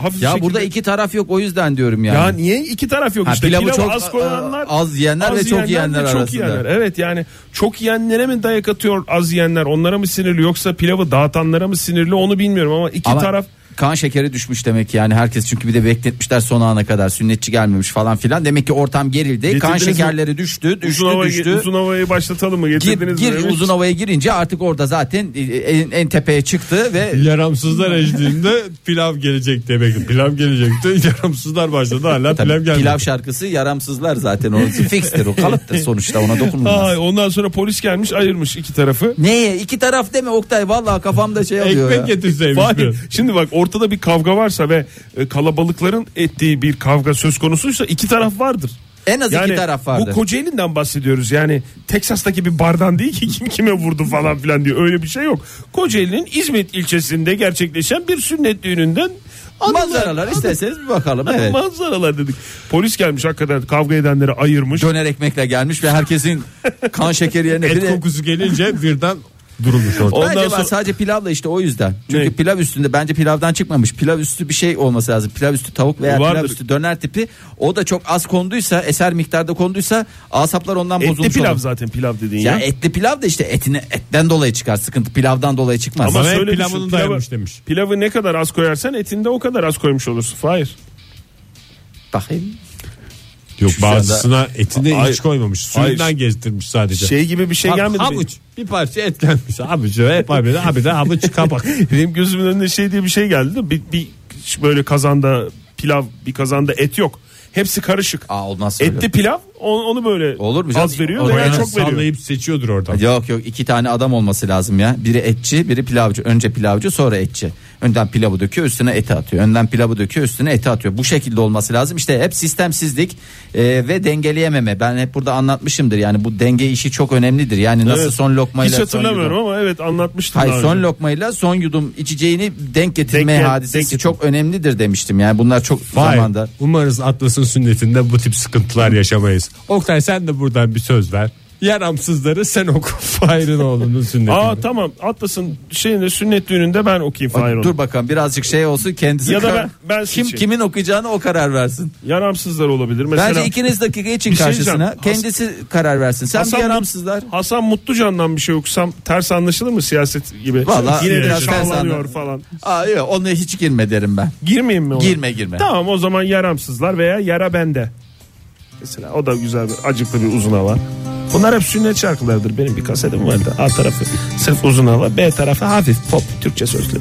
Speaker 4: hafif
Speaker 3: ya
Speaker 4: şekilde-
Speaker 3: burada iki taraf yok o yüzden diyorum yani.
Speaker 4: ya niye iki taraf yok
Speaker 3: Ha,
Speaker 4: işte
Speaker 3: pilavı
Speaker 4: pilavı
Speaker 3: çok- e,
Speaker 4: az koyanlar
Speaker 3: az yiyenler ve çok yiyenler
Speaker 4: ve
Speaker 3: arasında.
Speaker 4: evet yani çok yiyenlere mi dayak atıyor az yiyenler onlara mı sinirli yoksa pilavı dağıtanlara mı sinirli onu bilmiyorum ama iki
Speaker 3: Ama
Speaker 4: taraf
Speaker 3: kan şekeri düşmüş demek ki yani herkes çünkü bir de bekletmişler son ana kadar sünnetçi gelmemiş falan filan demek ki ortam gerildi kan
Speaker 4: Getirdiniz mi?
Speaker 3: şekerleri düştü düştü
Speaker 4: uzun, havayı,
Speaker 3: düştü
Speaker 4: uzun havayı başlatalım mı
Speaker 3: gir,
Speaker 4: getirdiniz
Speaker 3: gir
Speaker 4: mi? Evet.
Speaker 3: uzun havaya girince artık orada zaten e, en, en tepeye çıktı ve
Speaker 2: Yaramsızlar eşliğinde pilav gelecek diye bekledim. Pilav gelecekti. Yaramsızlar başladı hala
Speaker 3: Tabii,
Speaker 2: pilav gelmedi.
Speaker 3: pilav şarkısı yaramsızlar zaten o fikstir o kalıptır sonuçta ona dokunulmaz.
Speaker 4: Ay, ondan sonra polis gelmiş ayırmış iki tarafı
Speaker 3: Neye iki taraf deme Oktay vallahi kafamda şey oluyor
Speaker 2: Ekmek
Speaker 3: ya.
Speaker 2: getirseymiş
Speaker 4: Fahir,
Speaker 2: biraz.
Speaker 4: şimdi bak ortada bir kavga varsa ve e, kalabalıkların ettiği bir kavga söz konusuysa iki taraf vardır.
Speaker 3: En az iki taraf vardır.
Speaker 4: Bu Kocaeli'nden bahsediyoruz. Yani Teksas'taki bir bardan değil ki kim kime vurdu falan filan diye öyle bir şey yok. Kocaeli'nin İzmit ilçesinde gerçekleşen bir sünnet düğününden anılar-
Speaker 3: Manzaralar isterseniz bir bakalım evet.
Speaker 4: Manzaralar dedik. Polis gelmiş hakikaten kavga edenleri ayırmış.
Speaker 3: Döner ekmekle gelmiş ve herkesin kan şekeri yerine bir
Speaker 2: Et
Speaker 3: de-
Speaker 2: kokusu gelince birden durulmuş orada.
Speaker 4: Ondan
Speaker 3: Bence ben
Speaker 4: sonra-
Speaker 3: sadece pilavla işte o yüzden. Çünkü
Speaker 4: Ne?
Speaker 3: pilav üstünde bence pilavdan çıkmamış. Pilav üstü bir şey olması lazım. Pilav üstü tavuk veya
Speaker 4: Vardır.
Speaker 3: pilav üstü döner tipi. O da çok az konduysa, eser miktarda konduysa asaplar ondan
Speaker 4: Etli
Speaker 3: bozulmuş
Speaker 4: pilav
Speaker 3: olur.
Speaker 4: zaten pilav dediğin
Speaker 3: Ya e-
Speaker 4: ya.
Speaker 3: etli pilav da işte etine etten dolayı çıkar. Sıkıntı pilavdan dolayı çıkmaz.
Speaker 2: Ama
Speaker 4: Ama
Speaker 2: hep
Speaker 4: söyle düşün,
Speaker 2: pilavını
Speaker 4: pilavı-
Speaker 2: dayamış demiş.
Speaker 4: Pilavı ne kadar az koyarsan etinde o kadar az koymuş olursun. Hayır.
Speaker 3: bakayım.
Speaker 2: Yok
Speaker 3: Şu
Speaker 2: bazısına etini
Speaker 4: Hayır.
Speaker 2: hiç koymamış. Suyundan
Speaker 4: Hayır.
Speaker 2: gezdirmiş sadece.
Speaker 4: Şey gibi bir şey
Speaker 2: Bak,
Speaker 4: gelmedi. mi?
Speaker 2: havuç bir parça etlenmiş. Havuç hep abi de abi de havuç kabak.
Speaker 4: Benim gözümün önüne şey diye bir şey geldi. de Bir, bir böyle kazanda pilav bir kazanda et yok. Hepsi karışık.
Speaker 3: Aa olmaz.
Speaker 4: Etli pilav onu, onu böyle
Speaker 3: Olur mu canım?
Speaker 4: az veriyor
Speaker 3: Oraya
Speaker 4: veya
Speaker 2: Oraya
Speaker 4: çok veriyor.
Speaker 2: sallayıp seçiyordur oradan.
Speaker 3: Yok yok iki tane adam olması lazım ya. Biri etçi biri pilavcı. Önce pilavcı sonra etçi. Önden pilavı döküyor üstüne eti atıyor. Önden pilavı döküyor üstüne eti atıyor. Bu şekilde olması lazım. İşte hep sistemsizlik e, ve dengeleyememe. Ben hep burada anlatmışımdır. Yani bu denge işi çok önemlidir. Yani nasıl
Speaker 4: Evet.
Speaker 3: son lokmayla
Speaker 4: Hiç
Speaker 3: son
Speaker 4: hatırlamıyorum
Speaker 3: yudum-
Speaker 4: ama evet anlatmıştım.
Speaker 3: Hayır
Speaker 4: daha
Speaker 3: son
Speaker 4: önce.
Speaker 3: lokmayla son yudum içeceğini denk getirme
Speaker 4: Denk gel- denk
Speaker 3: hadisesi
Speaker 4: getir-
Speaker 3: çok önemlidir demiştim. Yani bunlar çok
Speaker 2: Vay,
Speaker 3: zamanda.
Speaker 2: Umarız Atlas'ın sünnetinde bu tip sıkıntılar yaşamayız. Oktay sen de buradan bir söz ver. Yaramsızları sen oku. Fahir'in oğlunun sünnetini.
Speaker 4: Aa tamam Atlas'ın şeyinde sünnet düğününde ben okuyayım Fahir onu.
Speaker 3: Dur bakalım birazcık şey olsun kendisi.
Speaker 4: Ya da
Speaker 3: karar-
Speaker 4: ben- ben
Speaker 3: kim
Speaker 4: seçeyim.
Speaker 3: kimin okuyacağını o karar versin.
Speaker 4: Yaramsızlar olabilir. Mesela
Speaker 3: Bence ikiniz dakika için
Speaker 4: Bir şey
Speaker 3: karşısına
Speaker 4: diyeceğim.
Speaker 3: kendisi karar versin. Sen
Speaker 4: Hasan-
Speaker 3: bir yaramsızlar.
Speaker 4: Hasan Mutlucan'dan bir şey okusam ters anlaşılır mı siyaset gibi?
Speaker 3: Vallahi
Speaker 4: Yine
Speaker 3: biraz
Speaker 4: biraz
Speaker 3: ters
Speaker 4: şahlanıyor
Speaker 3: anla-
Speaker 4: falan.
Speaker 3: Aa yok ona hiç girme derim ben.
Speaker 4: Girmeyeyim mi ona?
Speaker 3: Girme, girme.
Speaker 4: Tamam o zaman yaramsızlar veya yara bende. Mesela o da güzel bir acıklı bir uzun hava. Bunlar hep sünnet şarkılarıdır. Benim bir kasetim vardı. A tarafı sırf uzun hava. B tarafı hafif pop Türkçe sözlü.